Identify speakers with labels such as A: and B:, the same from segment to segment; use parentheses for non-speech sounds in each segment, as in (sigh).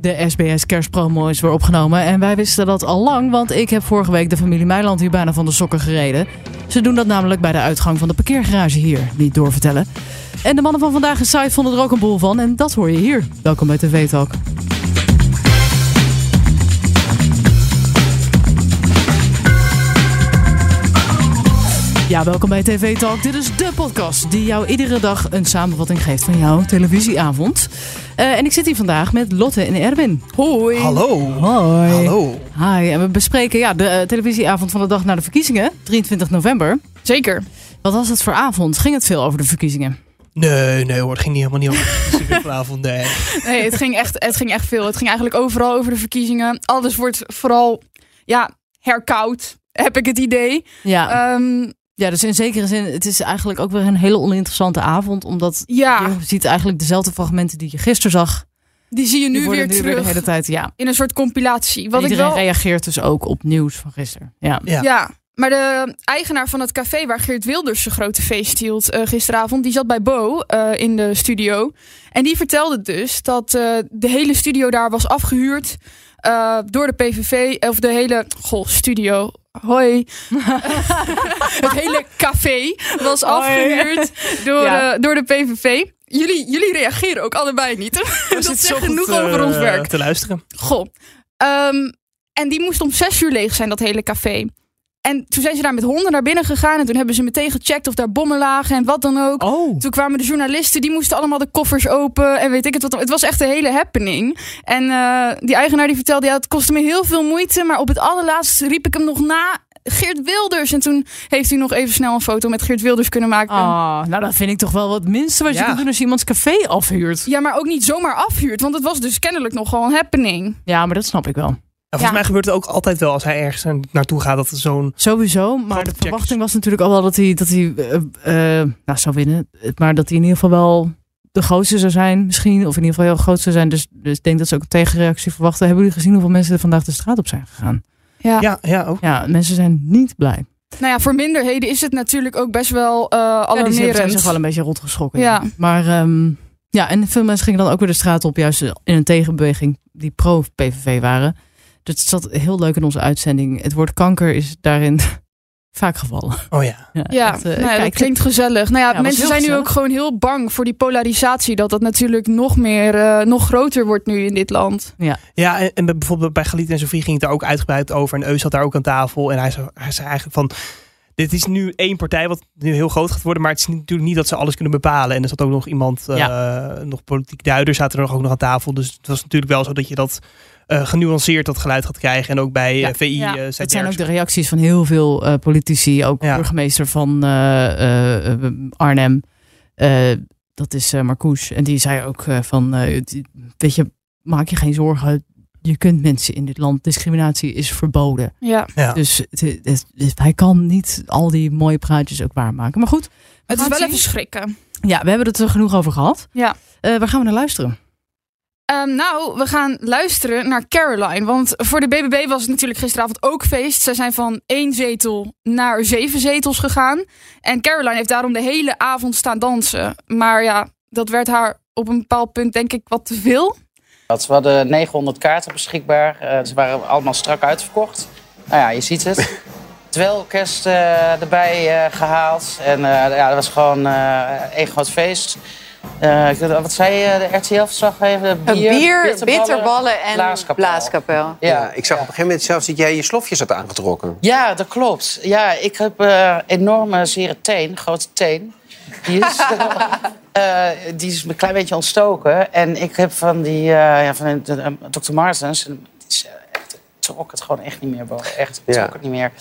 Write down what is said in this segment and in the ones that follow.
A: De SBS kerstpromo is weer opgenomen en wij wisten dat al lang, want ik heb vorige week de familie Meiland hier bijna van de sokken gereden. Ze doen dat namelijk bij de uitgang van de parkeergarage hier, niet doorvertellen. En de mannen van vandaag in site vonden er ook een boel van en dat hoor je hier. Welkom bij TV Talk. Ja, welkom bij TV Talk. Dit is de podcast die jou iedere dag een samenvatting geeft van jouw televisieavond. Eh, en ik zit hier vandaag met Lotte en Erwin. Hoi.
B: Hallo.
A: Hoi.
B: Hallo.
A: Hi, en we bespreken ja, de eh, televisieavond van de dag na de verkiezingen, 23 november.
C: Zeker.
A: Wat was het voor avond? Ging het veel over de verkiezingen?
B: Nee, nee hoor, het ging niet helemaal niet (laughs) over de verkiezingen vanavond. Nee.
C: Nee, het ging, echt, het ging echt veel. Het ging eigenlijk overal over de verkiezingen. Alles wordt vooral ja, herkoud, heb ik het idee.
A: Ja.
C: Ehm,
A: ja, dus in zekere zin, het is eigenlijk ook weer een hele oninteressante avond, omdat
C: ja,
A: je ziet eigenlijk dezelfde fragmenten die je gisteren zag.
C: die zie je
A: die
C: nu
A: worden
C: weer
A: nu
C: terug
A: de hele tijd, ja.
C: in een soort compilatie. Wat
A: En
C: ik
A: iedereen
C: wel,
A: reageert dus ook op nieuws van gisteren. Ja.
B: Ja.
C: ja. maar de eigenaar van het café waar Geert Wilders zijn grote feest hield eh, gisteravond, die zat bij Bo eh, in de studio. En die vertelde dus dat eh, de hele studio daar was afgehuurd eh, door de PVV. Of de hele, goh, studio.
A: (laughs)
C: Hoi. het hele café was
A: Hoi.
C: afgehuurd door,
A: Ja.
C: eh, door de PVV. Jullie, jullie reageren ook allebei niet.
B: Er
C: Dat
B: zit
C: zegt
B: zo goed,
C: genoeg
B: eh,
C: over ons werk.
B: Te luisteren. Nou,
C: Goh. Ehm, en die moest om zes uur leeg zijn, dat hele café. En toen zijn ze daar met honden naar binnen gegaan. En toen hebben ze meteen gecheckt of daar bommen lagen en wat dan ook.
B: Oh.
C: Toen kwamen de journalisten, die moesten allemaal de koffers open en weet ik het wat. Het was echt een hele happening. En eh, die eigenaar die vertelde, ja, het kostte me heel veel moeite. Maar op het allerlaatst riep ik hem nog na, Geert Wilders. En toen heeft hij nog even snel een foto met Geert Wilders kunnen maken.
A: Ah, nou, dat vind ik toch wel wat minste wat je
B: Ja.
A: kunt doen als je iemands café afhuurt.
C: Ja, maar ook niet zomaar afhuurt, want het was dus kennelijk nogal een happening.
A: Ja, maar dat snap ik wel.
B: volgens
C: Ja.
B: mij gebeurt het ook altijd wel als hij ergens na- naartoe gaat dat er zo'n...
A: Sowieso, maar
B: Grote
A: de
B: checks.
A: verwachting was natuurlijk al wel dat hij, dat hij eh, eh, nou, zou winnen. Maar dat hij in ieder geval wel de grootste zou zijn misschien. Of in ieder geval heel groot zou zijn. Dus, dus ik denk dat ze ook een tegenreactie verwachten. Hebben jullie gezien hoeveel mensen er vandaag de straat op zijn gegaan?
B: Ja, ja, oh. ook.
A: Ja, mensen zijn niet blij.
C: Nou ja, voor minderheden is het natuurlijk ook best wel eh
A: Ja, die zijn
C: alarmerend.
A: zich wel een beetje rot geschrokken.
C: Ja.
A: Maar ehm, ja, en veel mensen gingen dan ook weer de straat op. Juist in een tegenbeweging die pro-PVV waren. Dat zat heel leuk in onze uitzending. Het woord kanker is daarin (laughs) vaak gevallen.
B: Oh ja.
C: Ja,
A: het, eh,
C: nou ja,
A: kijk,
C: dat klinkt gezellig. Nou ja,
A: Ja, was
C: mensen
A: heel
C: zijn nu
A: gezellig.
C: ook gewoon heel bang voor die polarisatie. Dat dat natuurlijk nog meer, eh, nog groter wordt nu in dit land.
B: Ja, en, en bij- bijvoorbeeld bij Galit en Sofie ging het daar ook uitgebreid over. En Eus zat daar ook aan tafel. En hij zei, hij zei eigenlijk van... Dit is nu één partij wat nu heel groot gaat worden. Maar het is natuurlijk niet dat ze alles kunnen bepalen. En er zat ook nog iemand, eh, nog politiek duider, zaten er nog ook nog aan tafel. Dus het was natuurlijk wel zo dat je dat eh, genuanceerd dat geluid gaat krijgen. En ook bij
A: Ja.
B: eh, VI
C: Ja.
B: eh,
A: Het
B: zei
A: zijn ook
B: Derks-
A: de reacties van heel veel eh, politici, ook
B: Ja.
A: burgemeester van eh, eh, eh, Arnhem. eh, dat is eh Marcouch. En die zei ook eh, van, eh, het- weet je, maak je geen zorgen. Je kunt mensen in dit land, discriminatie is verboden.
C: Ja.
B: Ja.
A: Dus het- het- het- hij kan niet al die mooie praatjes ook waarmaken. Maar goed,
C: Het is
A: gaan
C: wel
A: zien.
C: even schrikken.
A: ja, we hebben het er genoeg over gehad.
C: Ja.
A: Eh, waar gaan we naar luisteren?
C: Ehm, nou, we gaan luisteren naar Caroline. Want voor de BBB was het natuurlijk gisteravond ook feest. Zij zijn van één zetel naar zeven zetels gegaan. En Caroline heeft daarom de hele avond staan dansen. Maar ja, dat werd haar op een bepaald punt denk ik wat te veel.
D: Ze hadden 900 kaarten beschikbaar. Eh, ze waren allemaal strak uitverkocht. Nou ja, je ziet het. Dwelorkest eh erbij eh, gehaald. En eh, ja, dat was gewoon eh één groot feest. Eh, ik weet- wat zei je, de RTL-verslaggever?
E: Een bier, bitterballen, en
D: blaaskapel.
E: blaaskapel.
D: Ja.
F: Ja, ik zag op een gegeven moment zelfs dat jij je slofjes had aangetrokken.
D: ja, dat klopt. Ja, ik heb eh enorme zere teen, grote teen. Die is, eh, die is een klein beetje ontstoken. En ik heb van die, eh, ja, van de, de- de- Dr. Martens, en die is, eh, echt- trok het gewoon echt niet meer. Bo. Echt, het
F: Ja.
D: trok het niet meer.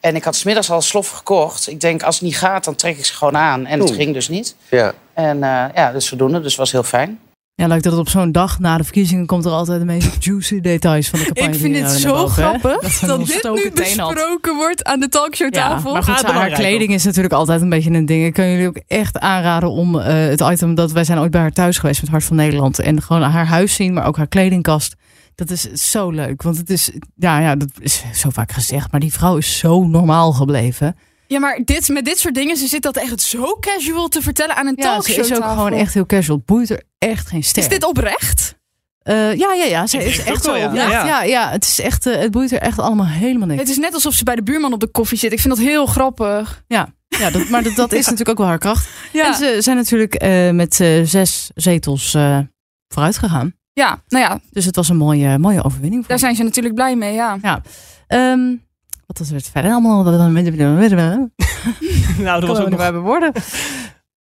D: En ik had smiddags al slof gekocht. Ik denk, als het niet gaat, dan trek ik ze gewoon aan. En het
F: Oeh.
D: ging dus niet.
F: Ja.
D: En eh, ja, dus zodoende. Dus was heel fijn.
A: Ja, leuk dat het op zo'n dag na de verkiezingen komt er altijd de meest (laughs) juicy details van de campagne.
C: Ik vind
A: die
C: het
A: naar
C: zo
A: boven, hè?
C: grappig
A: Dat ze
C: dat,
A: een
C: dit nu
A: ontstoken teen had.
C: besproken wordt aan de talkshowtafel.
A: maar goed,
B: Ah,
A: haar
B: belangrijk
A: kleding is natuurlijk altijd een beetje een ding. Ik kan jullie ook echt aanraden om eh, het item dat wij zijn ooit bij haar thuis geweest met Hart van Nederland en gewoon haar huis zien, maar ook haar kledingkast. Dat is zo leuk, want het is, ja, ja, dat is zo vaak gezegd, maar die vrouw is zo normaal gebleven.
C: Ja, maar dit, met dit soort dingen, ze zit dat echt zo casual te vertellen aan een
A: Ja, ze
C: talkshow.
A: is ook gewoon echt heel casual. Het Boeit er echt geen ster.
C: Is dit oprecht?
A: Eh, ja, ja, ja. Ze
B: Ik
A: is
B: denk het
A: echt
B: ook
A: zo
B: wel, ja.
A: oprecht.
B: Ja,
A: Ja,
B: ja.
A: ja. het, is echt, eh, het boeit er echt allemaal helemaal niks.
C: Het is net alsof ze bij de buurman op de koffie zit. Ik vind dat heel grappig.
A: (laughs) Ja, dat, maar dat, dat is natuurlijk ook wel haar kracht.
C: Ja.
A: En ze zijn natuurlijk eh, met eh, zes zetels eh, vooruit gegaan.
C: ja, nou ja,
A: Dus het was een mooie, mooie overwinning voor
C: daar zijn ze natuurlijk blij mee, ja.
A: Ehm, wat was het verder allemaal?
B: (laughs) nou, er was ook
A: Kunnen we
B: nog...
A: bij woorden.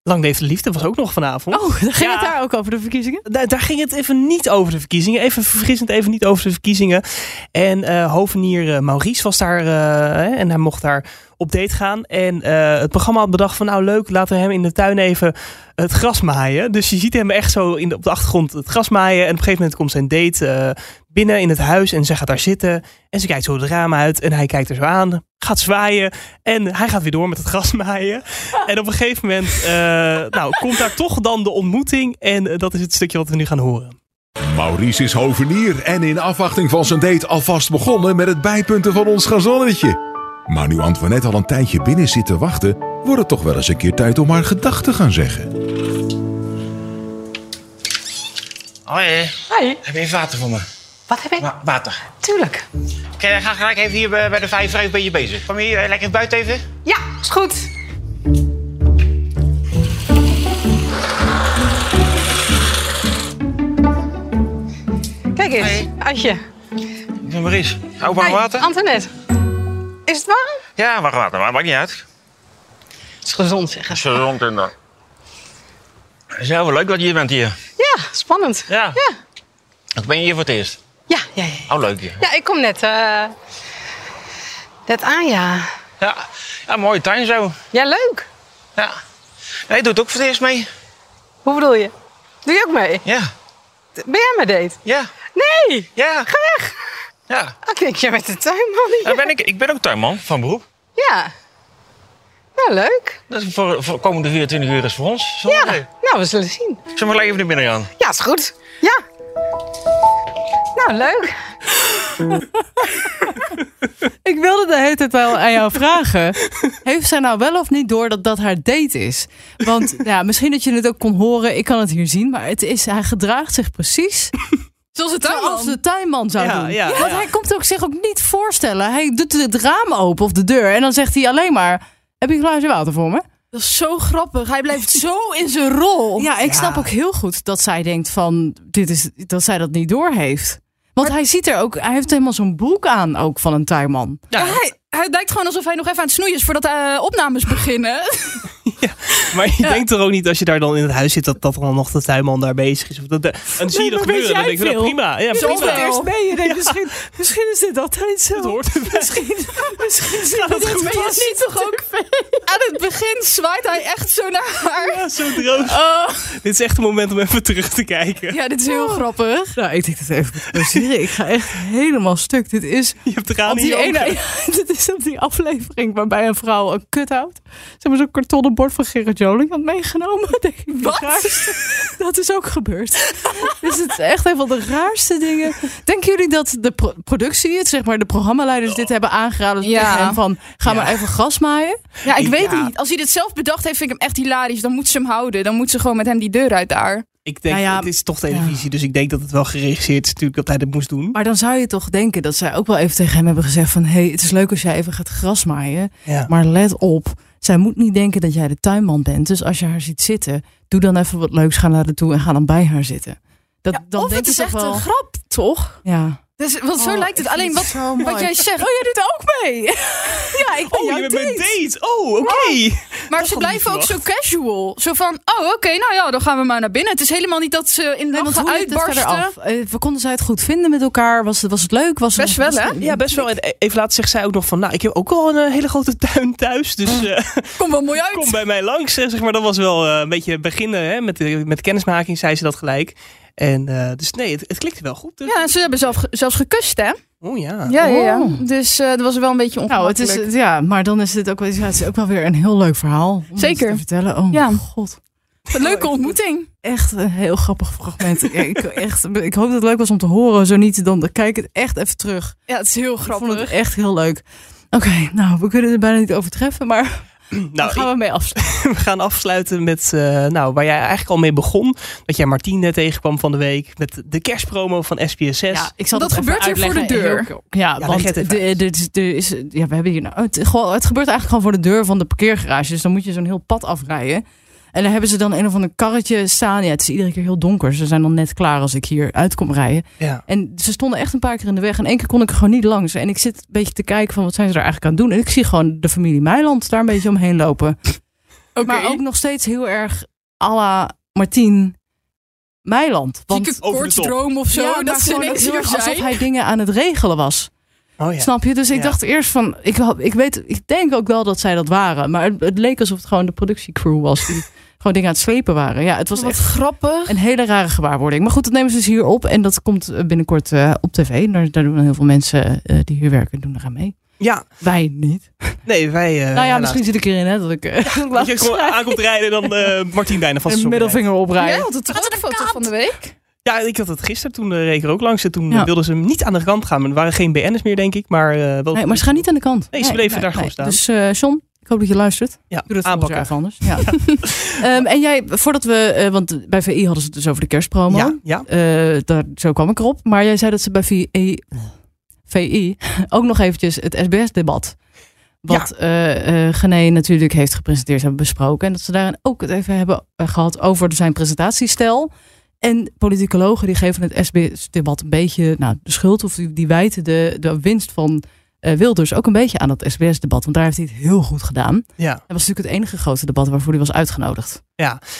B: Lang leefde de liefde was ook nog vanavond.
A: Oh, ging
B: Ja.
A: het daar ook over de verkiezingen?
B: Daar, daar ging het even niet over de verkiezingen. Even vergissend, even niet over de verkiezingen. En eh hovenier eh, Maurice was daar eh, hè, en hij mocht daar op date gaan. En eh, het programma had bedacht van nou leuk, laten we hem in de tuin even het gras maaien. Dus je ziet hem echt zo in de, op de achtergrond het gras maaien. En op een gegeven moment komt zijn date eh, binnen in het huis en zij gaat daar zitten. En ze kijkt zo het raam uit en hij kijkt er zo aan, gaat zwaaien. En hij gaat weer door met het gras (laughs) maaien. En op een gegeven moment eh, nou, komt daar toch dan de ontmoeting. En eh, dat is het stukje wat we nu gaan horen.
G: Maurice is hovenier en in afwachting van zijn date alvast begonnen met het bijpunten van ons gazonnetje. Maar nu Antoinette al een tijdje binnen zit te wachten, wordt het toch wel eens een keer tijd om haar gedachten te gaan zeggen.
H: Hoi,
E: Hoi,
H: heb je even water voor me?
E: wat heb ik?
H: Wa- water.
E: Tuurlijk.
H: Oké, dan ga gelijk even hier eh, bij bij de vijver even een beetje bezig. Kom hier eh, lekker buiten even.
E: Ja, is goed. Kijk eens,
H: Hoi.
E: Adje.
H: Ik ben Maurice. Hou van
E: Hoi,
H: water?
E: Antoinette. Is het warm?
H: Ja, wacht water, maar maakt niet uit.
E: Het is gezond, zeggen ze.
H: rond in daar. Het is heel leuk dat je hier bent hier.
E: Ja, spannend.
H: Ja.
E: Ja,
H: Ik ben je hier voor het eerst.
E: ja, ja. ja.
H: Oh, leuk. Ja.
E: Ja, ik kom net, eh, net aan, ja.
H: Ja, mooie tuin zo.
E: Ja, leuk.
H: Ja. Nee, doet ook voor het eerst mee.
E: Hoe bedoel je? Doe je ook mee?
H: Ja.
E: Ben jij mijn date?
H: Ja.
E: Nee!
H: Ja.
E: Ga weg! Oh,
H: Ja.
E: Ik denk, jij bent de tuinman.
H: Daar ben ik, ik ben ook tuinman van beroep.
E: Ja. Nou, leuk.
H: Dus voor, voor de komende 24 uur is voor ons.
I: Oh,
H: Zo
E: Ja. Nou, we zullen zien.
H: Zullen we gelijk even naar binnen gaan?
E: Ja, is goed. Ja. Nou, leuk.
A: Ik wilde de hele tijd wel aan jou vragen. Heeft zij nou wel of niet door dat dat haar date is? Want ja, misschien dat je het ook kon horen. Ik kan het hier zien. Maar het is, hij gedraagt zich precies
C: Zoals het
A: Zoals de tuinman zou
B: Ja,
A: doen.
B: ja,
A: Want
B: ja.
A: hij komt ook zich ook niet voorstellen. Hij doet het raam open of de deur. En dan zegt hij alleen maar... Heb je een glaasje water voor me?
C: Dat is zo grappig. Hij blijft zo in zijn rol.
A: Ja, ik snap ook heel goed dat zij denkt van... Dit is, dat zij dat niet doorheeft. Want hij ziet er ook... Hij heeft helemaal zo'n broek aan ook van een tuinman.
C: Ja, hij, hij lijkt gewoon alsof hij nog even aan het snoeien is voordat eh opnames
A: (laughs)
C: beginnen.
B: Maar je denkt er ook niet als je daar dan in het huis zit dat, dat dan nog de tuinman daar bezig is. Of dat, dat- en dan zie je
A: Nee,
B: dat
A: maar weet
B: gebeuren.
A: jij
B: Dan denk je, nou,
A: veel?
B: prima. Ja,
A: Zo
B: prima.
A: eerst mee. Je denkt, misschien, misschien is dit altijd zo.
B: Het hoort erbij.
A: Misschien, misschien zit
B: dat
A: dit
B: gebeuren.
A: vast.
C: Maar je ziet toch ook aan het begin zwaait hij echt zo naar haar.
B: Ja, zo droog.
C: Oh,
B: Dit is echt een moment om even terug te kijken.
C: ja, dit is heel grappig.
A: Nou, ik denk dat even moet pauzeren. Ik ga echt helemaal stuk. Dit is
B: Je hebt eraan
A: Op
B: in je
A: die
B: ogen.
A: ene, (laughs) ja, dit is op die aflevering waarbij een vrouw een kut houdt. Ze hebben zo'n kartonnen bord van Gerrit Joling had meegenomen. (laughs) Denk ik, de
C: Wat?
A: raarste. Dat is ook gebeurd. (laughs) dus het is echt een van de raarste dingen. Denken jullie dat de pro- productie, het, zeg maar de programmaleiders, dit hebben aangeraden
C: Ja.
A: tegen hem van ga maar even gras maaien?
C: Ja, ik weet
B: Ja.
C: niet. Als hij dit zelf bedacht heeft, vind ik hem echt hilarisch. Dan moet ze hem houden. Dan moet ze gewoon met hem die deur uit daar.
B: Ik denk,
A: Nou ja,
B: het is toch televisie, dus ik denk dat het wel geregisseerd is natuurlijk dat hij dit moest doen.
A: Maar dan zou je toch denken dat zij ook wel even tegen hem hebben gezegd van hey, het is leuk als jij even gaat gras maaien.
B: Ja.
A: Maar let op, zij moet niet denken dat jij de tuinman bent. Dus als je haar ziet zitten, doe dan even wat leuks. Ga naar haar toe en ga dan bij haar zitten. Dat,
C: Ja,
A: dan
C: of
A: denk
C: het
A: je
C: is
A: toch
C: echt
A: wel- Oh,
C: een grap, toch?
A: Ja.
C: Dus, want zo lijkt het. Alleen wat, wat jij zegt.
A: Oh, jij doet ook
C: (laughs)
A: mee. ja, ik ben
B: oh,
A: jouw
B: je bent mijn
A: date.
B: date. Oh, oké.
C: Maar ze blijven ook zo casual. Zo van, oh oké, nou ja, dan gaan we maar naar binnen. Het is helemaal niet dat ze in de
A: Nee, want
C: lachen
A: hoe liep het verder
C: uitbarsten.
A: af? Eh, we konden zij het goed vinden met elkaar? Was, het- was het leuk? Was het-
C: Best wel, hè?
B: Ja, best wel. En e- even later zegt zij ook nog van, nou, ik heb ook al een eh, hele grote tuin thuis, dus
A: Mm.
B: eh,
C: Kom wel mooi uit.
B: kom bij mij langs. eh, Zeg maar, dat was wel eh, een beetje beginnen hè, met, de, met de kennismaking, zei ze dat gelijk. En eh, dus nee, het, het klikte wel goed. dus.
C: Ja, ze hebben zelf, zelfs gekust, hè?
B: Oh ja.
C: Ja, ja, ja.
A: Oh.
C: Dus eh, dat was wel een beetje
A: Nou, het
C: ongemakkelijk.
A: is, ja, maar dan is dit ook wel, ja, het is ook wel weer een heel leuk verhaal. Om dit
C: Zeker.
A: Te vertellen. Oh,
C: Ja.
A: mijn god. eh,
C: Een
A: (laughs)
C: leuke ontmoeting.
A: Echt een heel grappig fragment. Ja, ik, echt, ik hoop dat het leuk was om te horen. Zo niet, dan kijk het echt even terug.
C: Ja, het is heel
A: Ik vond
C: grappig.
A: het echt heel leuk. Oké, nou, we kunnen het bijna niet overtreffen, maar Daar
B: Nou,
A: gaan we mee afsluiten.
B: we gaan afsluiten met eh, nou, waar jij eigenlijk al mee begon. Dat jij Martine tegenkwam van de week met de kerstpromo van SPSS.
A: Ja, ik zal
C: Dat
A: dat even
C: gebeurt hier voor
A: uitleggen.
C: de deur.
A: Heel- Ja,
B: leg
A: want
B: het even
A: de, de, de- de- is, ja, we hebben hier nou, het, gewoon- het gebeurt eigenlijk gewoon voor de deur van de parkeergarage. Dus dan moet je zo'n heel pad afrijden. En daar hebben ze dan een of ander karretje staan. Ja, het is iedere keer heel donker. Ze zijn dan net klaar als ik hier uit kom rijden.
B: Ja.
A: En ze stonden echt een paar keer in de weg. En één keer kon ik er gewoon niet langs. En ik zit een beetje te kijken van wat zijn ze daar eigenlijk aan het doen. En ik zie gewoon de familie Meiland daar een beetje omheen lopen.
C: (laughs) Oké.
A: Maar ook nog steeds heel erg à la Martien Meiland. Want
C: Zieke
B: Over de
C: kortstroom of zo.
A: ja, maar
C: dat ze
A: gewoon
C: ineens
A: heel
C: hier
A: erg alsof
C: zijn.
A: hij dingen aan het regelen was.
B: Oh, ja.
A: Snap je? Dus ik
B: Ja.
A: dacht eerst van, ik, had- ik weet, ik denk ook wel dat zij dat waren. Maar het, het leek alsof het gewoon de productiecrew was die (laughs) gewoon dingen aan het slepen waren. Ja, het was
C: Wat
A: echt
C: grappig.
A: een hele rare gewaarwording. Maar goed, dat nemen ze dus hier op en dat komt eh, binnenkort eh, op tv. Daar, daar doen heel veel mensen eh, die hier werken doen eraan mee.
B: ja,
A: Wij niet.
B: nee, wij... eh,
A: nou ja,
B: helaas.
A: misschien zit ik erin hè, dat ik eh, (laughs)
B: Dat je gewoon aankomt rijden en dan eh Martien bijna vast
A: een middelvinger
C: Jij
A: oprijden.
C: had het toch ook een foto van de week?
B: Ja, ik had het gisteren toen eh, reed ik er ook langs. En toen
A: Ja.
B: eh, wilden ze hem niet aan de kant gaan. Maar er waren geen BN'ers meer, denk ik. Maar, eh, wel
A: Nee, maar ze gaan niet aan de kant.
B: Nee, ze bleven daar gewoon staan.
A: Dus eh John, ik hoop dat je luistert.
B: ja,
A: Doe dat aanpakken.
B: aanpakken.
A: even anders. Ja.
B: (laughs)
A: Ehm, en jij, voordat we, eh, want bij VI hadden ze het dus over de kerstpromo.
B: Ja, ja.
A: Eh, daar, zo kwam ik erop. Maar jij zei dat ze bij VI, VI E (laughs) ook nog eventjes het SBS-debat. Wat eh, eh, Gené natuurlijk heeft gepresenteerd, hebben besproken. En dat ze daarin ook het even hebben eh, gehad over zijn presentatiestijl. En politicologen die geven het SBS-debat een beetje nou, de schuld. Of die, die wijten de, de winst van eh, Wilders ook een beetje aan dat SBS-debat. Want daar heeft hij het heel goed gedaan.
B: Ja.
A: Dat was natuurlijk het enige grote debat waarvoor hij was uitgenodigd.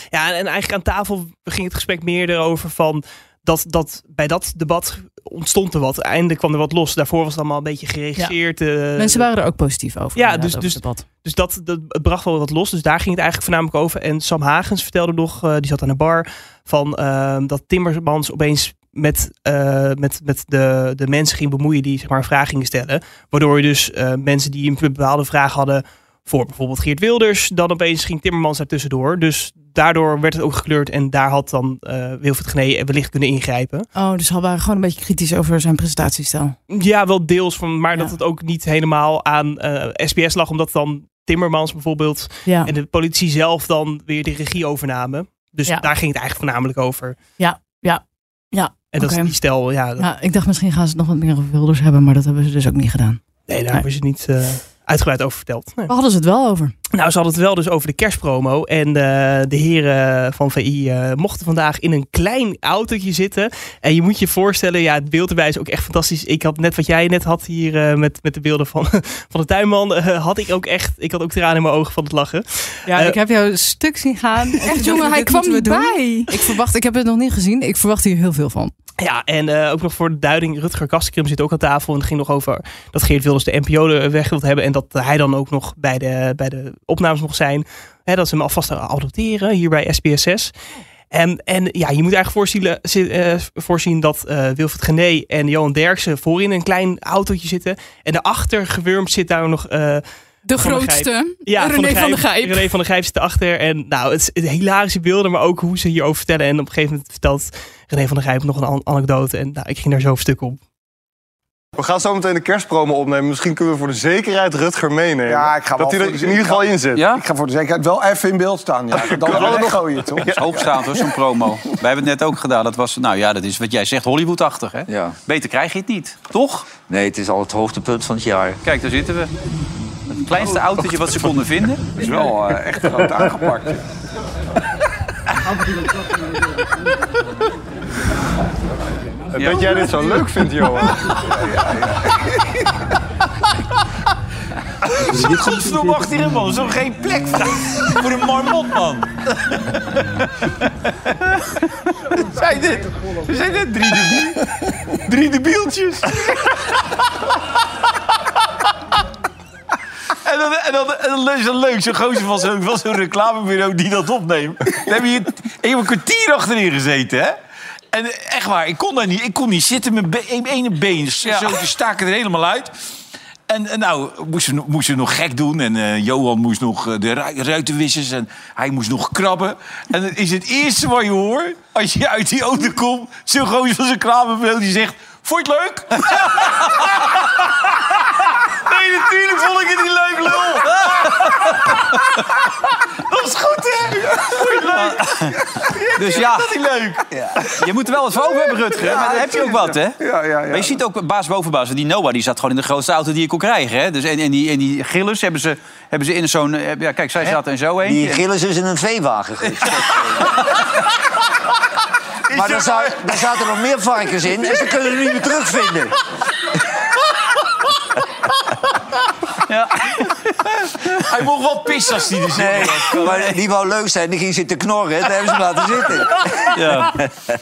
B: ja, en eigenlijk aan tafel ging het gesprek meer erover van... Dat, dat bij dat debat ontstond er wat. Eindelijk kwam er wat los. Daarvoor was het allemaal een beetje geregisseerd. eh,
A: Mensen waren er ook positief over.
B: Ja,
A: inderdaad,
B: dus-
A: over
B: dus-
A: het debat.
B: Dus dat, dat het bracht wel wat los. Dus daar ging het eigenlijk voornamelijk over. En Sam Hagens vertelde nog, eh, die zat aan de bar, van ehm, dat Timmermans opeens met, eh, met, met de, de mensen ging bemoeien die zeg maar, een vraag gingen stellen. Waardoor je dus eh, mensen die een bepaalde vraag hadden voor bijvoorbeeld Geert Wilders, dan opeens ging Timmermans daartussendoor. Dus daardoor werd het ook gekleurd en daar had dan eh Wilfried Genee wellicht kunnen ingrijpen.
A: Oh, dus al waren gewoon een beetje kritisch over zijn presentatiestijl.
B: Ja, wel deels, van, maar dat
A: Ja.
B: het ook niet helemaal aan eh, SBS lag, omdat dan Timmermans bijvoorbeeld
A: Ja.
B: en de politie zelf dan weer de regie overnamen. Dus
A: Ja.
B: daar ging het eigenlijk voornamelijk over.
A: Ja, ja, ja,
B: En dat
A: oké.
B: is die stel, ja, dat-
A: ja, Nou, ik dacht misschien gaan ze het nog wat meer over Wilders hebben, maar dat hebben ze dus ook niet gedaan.
B: nee, daar
A: Nee.
B: was het niet eh, uitgebreid over verteld. Nee.
A: Waar hadden ze het wel over?
B: Nou, ze hadden het wel dus over de kerstpromo. En eh, de heren van VI eh, mochten vandaag in een klein autootje zitten. En je moet je voorstellen, ja, het beeld erbij is ook echt fantastisch. Ik had net wat jij net had hier eh, met, met de beelden van, (laughs) van de tuinman. eh, had ik ook echt, ik had ook tranen in mijn ogen van het lachen.
A: Ja,
B: Eh,
A: ik heb jou een stuk zien gaan.
C: Echt jongen, hij kwam niet bij.
A: Ik verwacht, ik heb het nog niet gezien. Ik verwacht hier heel veel van.
B: Ja, en eh, ook nog voor de duiding, Rutger Kastenkrim zit ook aan tafel. En het ging nog over dat Geert Wilders de NPO er weg wil hebben. En dat hij dan ook nog bij de, bij de opnames mocht zijn. Hè, dat ze hem alvast adopteren hier bij SPSS. En, Ehm, en ja, je moet eigenlijk voorzien, zi- eh, voorzien dat eh Wilfried Gené en Johan Derksen voorin een klein autootje zitten. En daarachter gewurmd zit daar nog eh,
C: De
B: Van der Gijp.
C: grootste.
B: ja,
C: René van der Gijp.
B: René van der Gijp zit erachter. En nou, het is hilarische beelden, maar ook hoe ze hierover vertellen. En op een gegeven moment vertelt René van der Gijp nog een an- anekdote. En nou, ik ging daar zo op stuk op.
J: We gaan zo meteen de kerstpromo opnemen. Misschien kunnen we voor de zekerheid Rutger meenemen.
K: Ja, ik ga wel
J: dat hij
K: voor
J: er
K: de
J: in ieder geval
K: zekerheid-
J: in zit.
K: Ik ga voor de zekerheid wel even in beeld staan.
I: (laughs)
K: Ja. Dan
J: Kan
K: wel
J: wel nog.
K: nog gooien, toch?
I: Dat is hoogstaand hoor, zo'n
K: (laughs)
I: promo. Wij hebben het net ook gedaan. Dat was, nou ja, dat is wat jij zegt, Hollywood-achtig. Hè?
K: Ja.
I: Beter krijg je het niet, toch?
K: Nee, het is al het hoogtepunt van het jaar.
I: Kijk, daar zitten we. Het kleinste autootje wat ze konden vinden.
K: Het (laughs) is wel eh, echt groot aangepakt.
I: (laughs)
J: En Dat jij dit zo leuk vindt, Johan.
I: Dus Godsdoem achter hem, man. Zo geen plek voor, voor een marmot, (laughs) man.
J: Zijn dit, zijn dit drie, debiel, drie debieltjes?
I: (laughs) En dan, en dan, en dan is het leuk, zo'n gozer van zo'n van zo'n reclamebureau die dat opneemt. Dan heb je hier even een kwartier achterin gezeten, hè? En eh, echt waar, ik kon daar niet, ik kon niet zitten. Mijn be- mijn ene been zo zo staken er helemaal uit. En, en nou, moesten we moesten we nog gek doen. En eh, Johan moest nog eh, de ru- ruitenwissers en hij moest nog krabben. En het is het eerste wat je hoort als je uit die auto komt. Zo'n gozer van zo'n reclamebureau die zegt... Vond je het leuk? nee, natuurlijk vond ik het niet leuk, lul.
L: (laughs)
I: Dat is goed, hè? Vond je het leuk?
L: (laughs) Dus ja.
I: Dat is niet leuk.
L: Je moet er wel wat voor over hebben, Rutger. hè?
I: Ja,
L: maar dan heb je ook wat, hè?
I: Ja, ja, ja.
L: Maar je ziet ook baas boven baas. want Die Noah die zat gewoon in de grootste auto die je kon krijgen. Hè? Dus en, en, die, en die Gillis hebben ze, hebben ze in zo'n... eh, Ja, kijk, zij zaten in zo heen.
M: Die Gillis is dus in een veewagen Maar daar, zou, daar zaten nog meer varkens in en ze kunnen het niet meer terugvinden.
I: Hij mocht wel pissen als hij er zin in had.
M: Maar die wou leuk zijn, die ging zitten knorren. Daar hebben ze hem laten zitten.
L: Ja.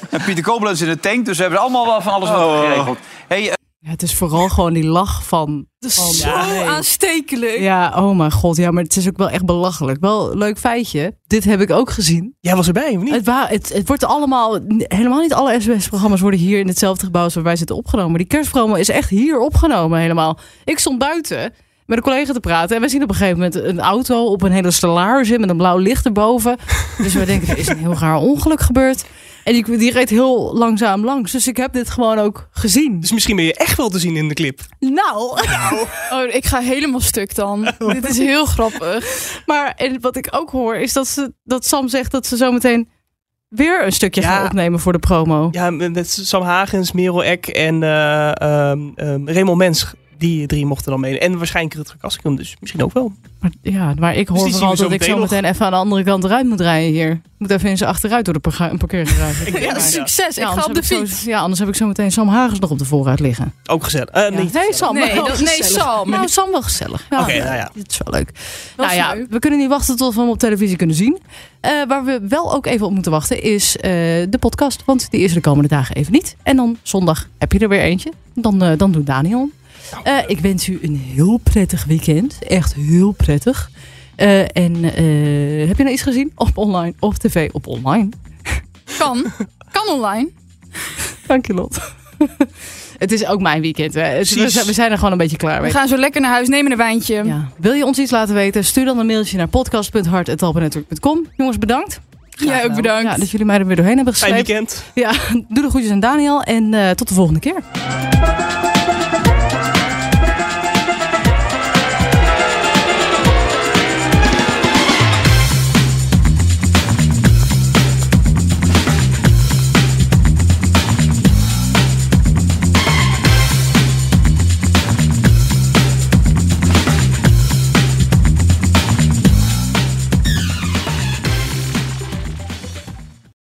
L: En Pieter Koblenz in de tank. Dus ze hebben allemaal wel van alles wat geregeld. Hey, eh,
A: Ja, het is vooral gewoon die lach van...
C: Dat
A: van-
C: is zo aanstekelijk.
A: Ja, oh mijn god. Ja, maar het is ook wel echt belachelijk. Wel een leuk feitje. Dit heb ik ook gezien.
B: Jij was erbij, of niet?
A: Het, wa- het, het wordt allemaal... n- Helemaal niet alle SBS-programma's worden hier in hetzelfde gebouw als waar wij zitten opgenomen. Die kerstprogramma is echt hier opgenomen helemaal. Ik stond buiten met een collega te praten. En we zien op een gegeven moment een auto op een hele stellage met een blauw licht erboven. (laughs) Dus we denken, er is een heel raar ongeluk gebeurd. En die, die reed heel langzaam langs. Dus ik heb dit gewoon ook gezien.
B: Dus misschien ben je echt wel te zien in de clip.
A: Nou.
C: (laughs) Oh, ik ga helemaal stuk dan.
A: (laughs)
C: Dit is heel grappig.
A: Maar en wat ik ook hoor is dat, ze, dat Sam zegt dat ze zometeen weer een stukje gaan opnemen voor de promo.
B: Ja, met Sam Hagens, Merel Eck en eh ehm, ehm, Raymond Mens. Die drie mochten dan mee. En waarschijnlijk Rutger Kastrikum, dus misschien ook wel.
A: Maar, ja, maar ik hoor
B: Dus die zien
A: vooral
B: we zo
A: dat ik
B: meteen
A: zo
B: nog.
A: meteen even aan de andere kant eruit moet rijden hier. Ik moet even in zijn achteruit door de parga- een parkeergarage.
B: Ik denk
C: (laughs) nou Ja,
B: maar, ja.
C: succes. ik ga
A: anders
C: op de
A: heb ik
C: fiets.
A: zo- ja, anders heb ik zo meteen Sam Hagens nog op de voorraad liggen.
B: Ook gezellig. Eh,
A: Ja.
B: niet.
A: Nee, Sam.
C: Nee,
A: wel
C: dat- nee,
A: gezellig.
C: Sam.
A: Nou, Sam wel gezellig. Ja,
B: Oké, nou ja.
A: Dit is wel leuk.
C: Dat
A: nou
C: is
A: ja, we kunnen niet wachten tot we hem op televisie kunnen zien. Eh, waar we wel ook even op moeten wachten is eh, de podcast. Want die is er de komende dagen even niet. En dan zondag heb je er weer eentje. Dan, eh, dan doet Daniel. hem. Eh, ik wens u een heel prettig weekend. Echt heel prettig. Eh, en eh, heb je nou iets gezien? Op online, op tv, op online.
C: (laughs) Kan. Kan online.
A: Dank je, Lot. (laughs) Het is ook mijn weekend. Hè. Het- We
C: Precies.
A: zijn- we zijn er gewoon een beetje klaar
C: We
A: mee.
C: gaan zo lekker naar huis, nemen een wijntje.
A: Ja. Wil je ons iets laten weten? Stuur dan een mailtje naar podcast.hart.talpenetwerk.com. Jongens, bedankt.
C: Jij ook bedankt.
A: Nou, Ja, dat jullie mij er weer doorheen hebben
B: Fijn
A: gesleept.
B: weekend.
A: Ja, doe de groetjes aan Daniel en eh, tot de volgende keer.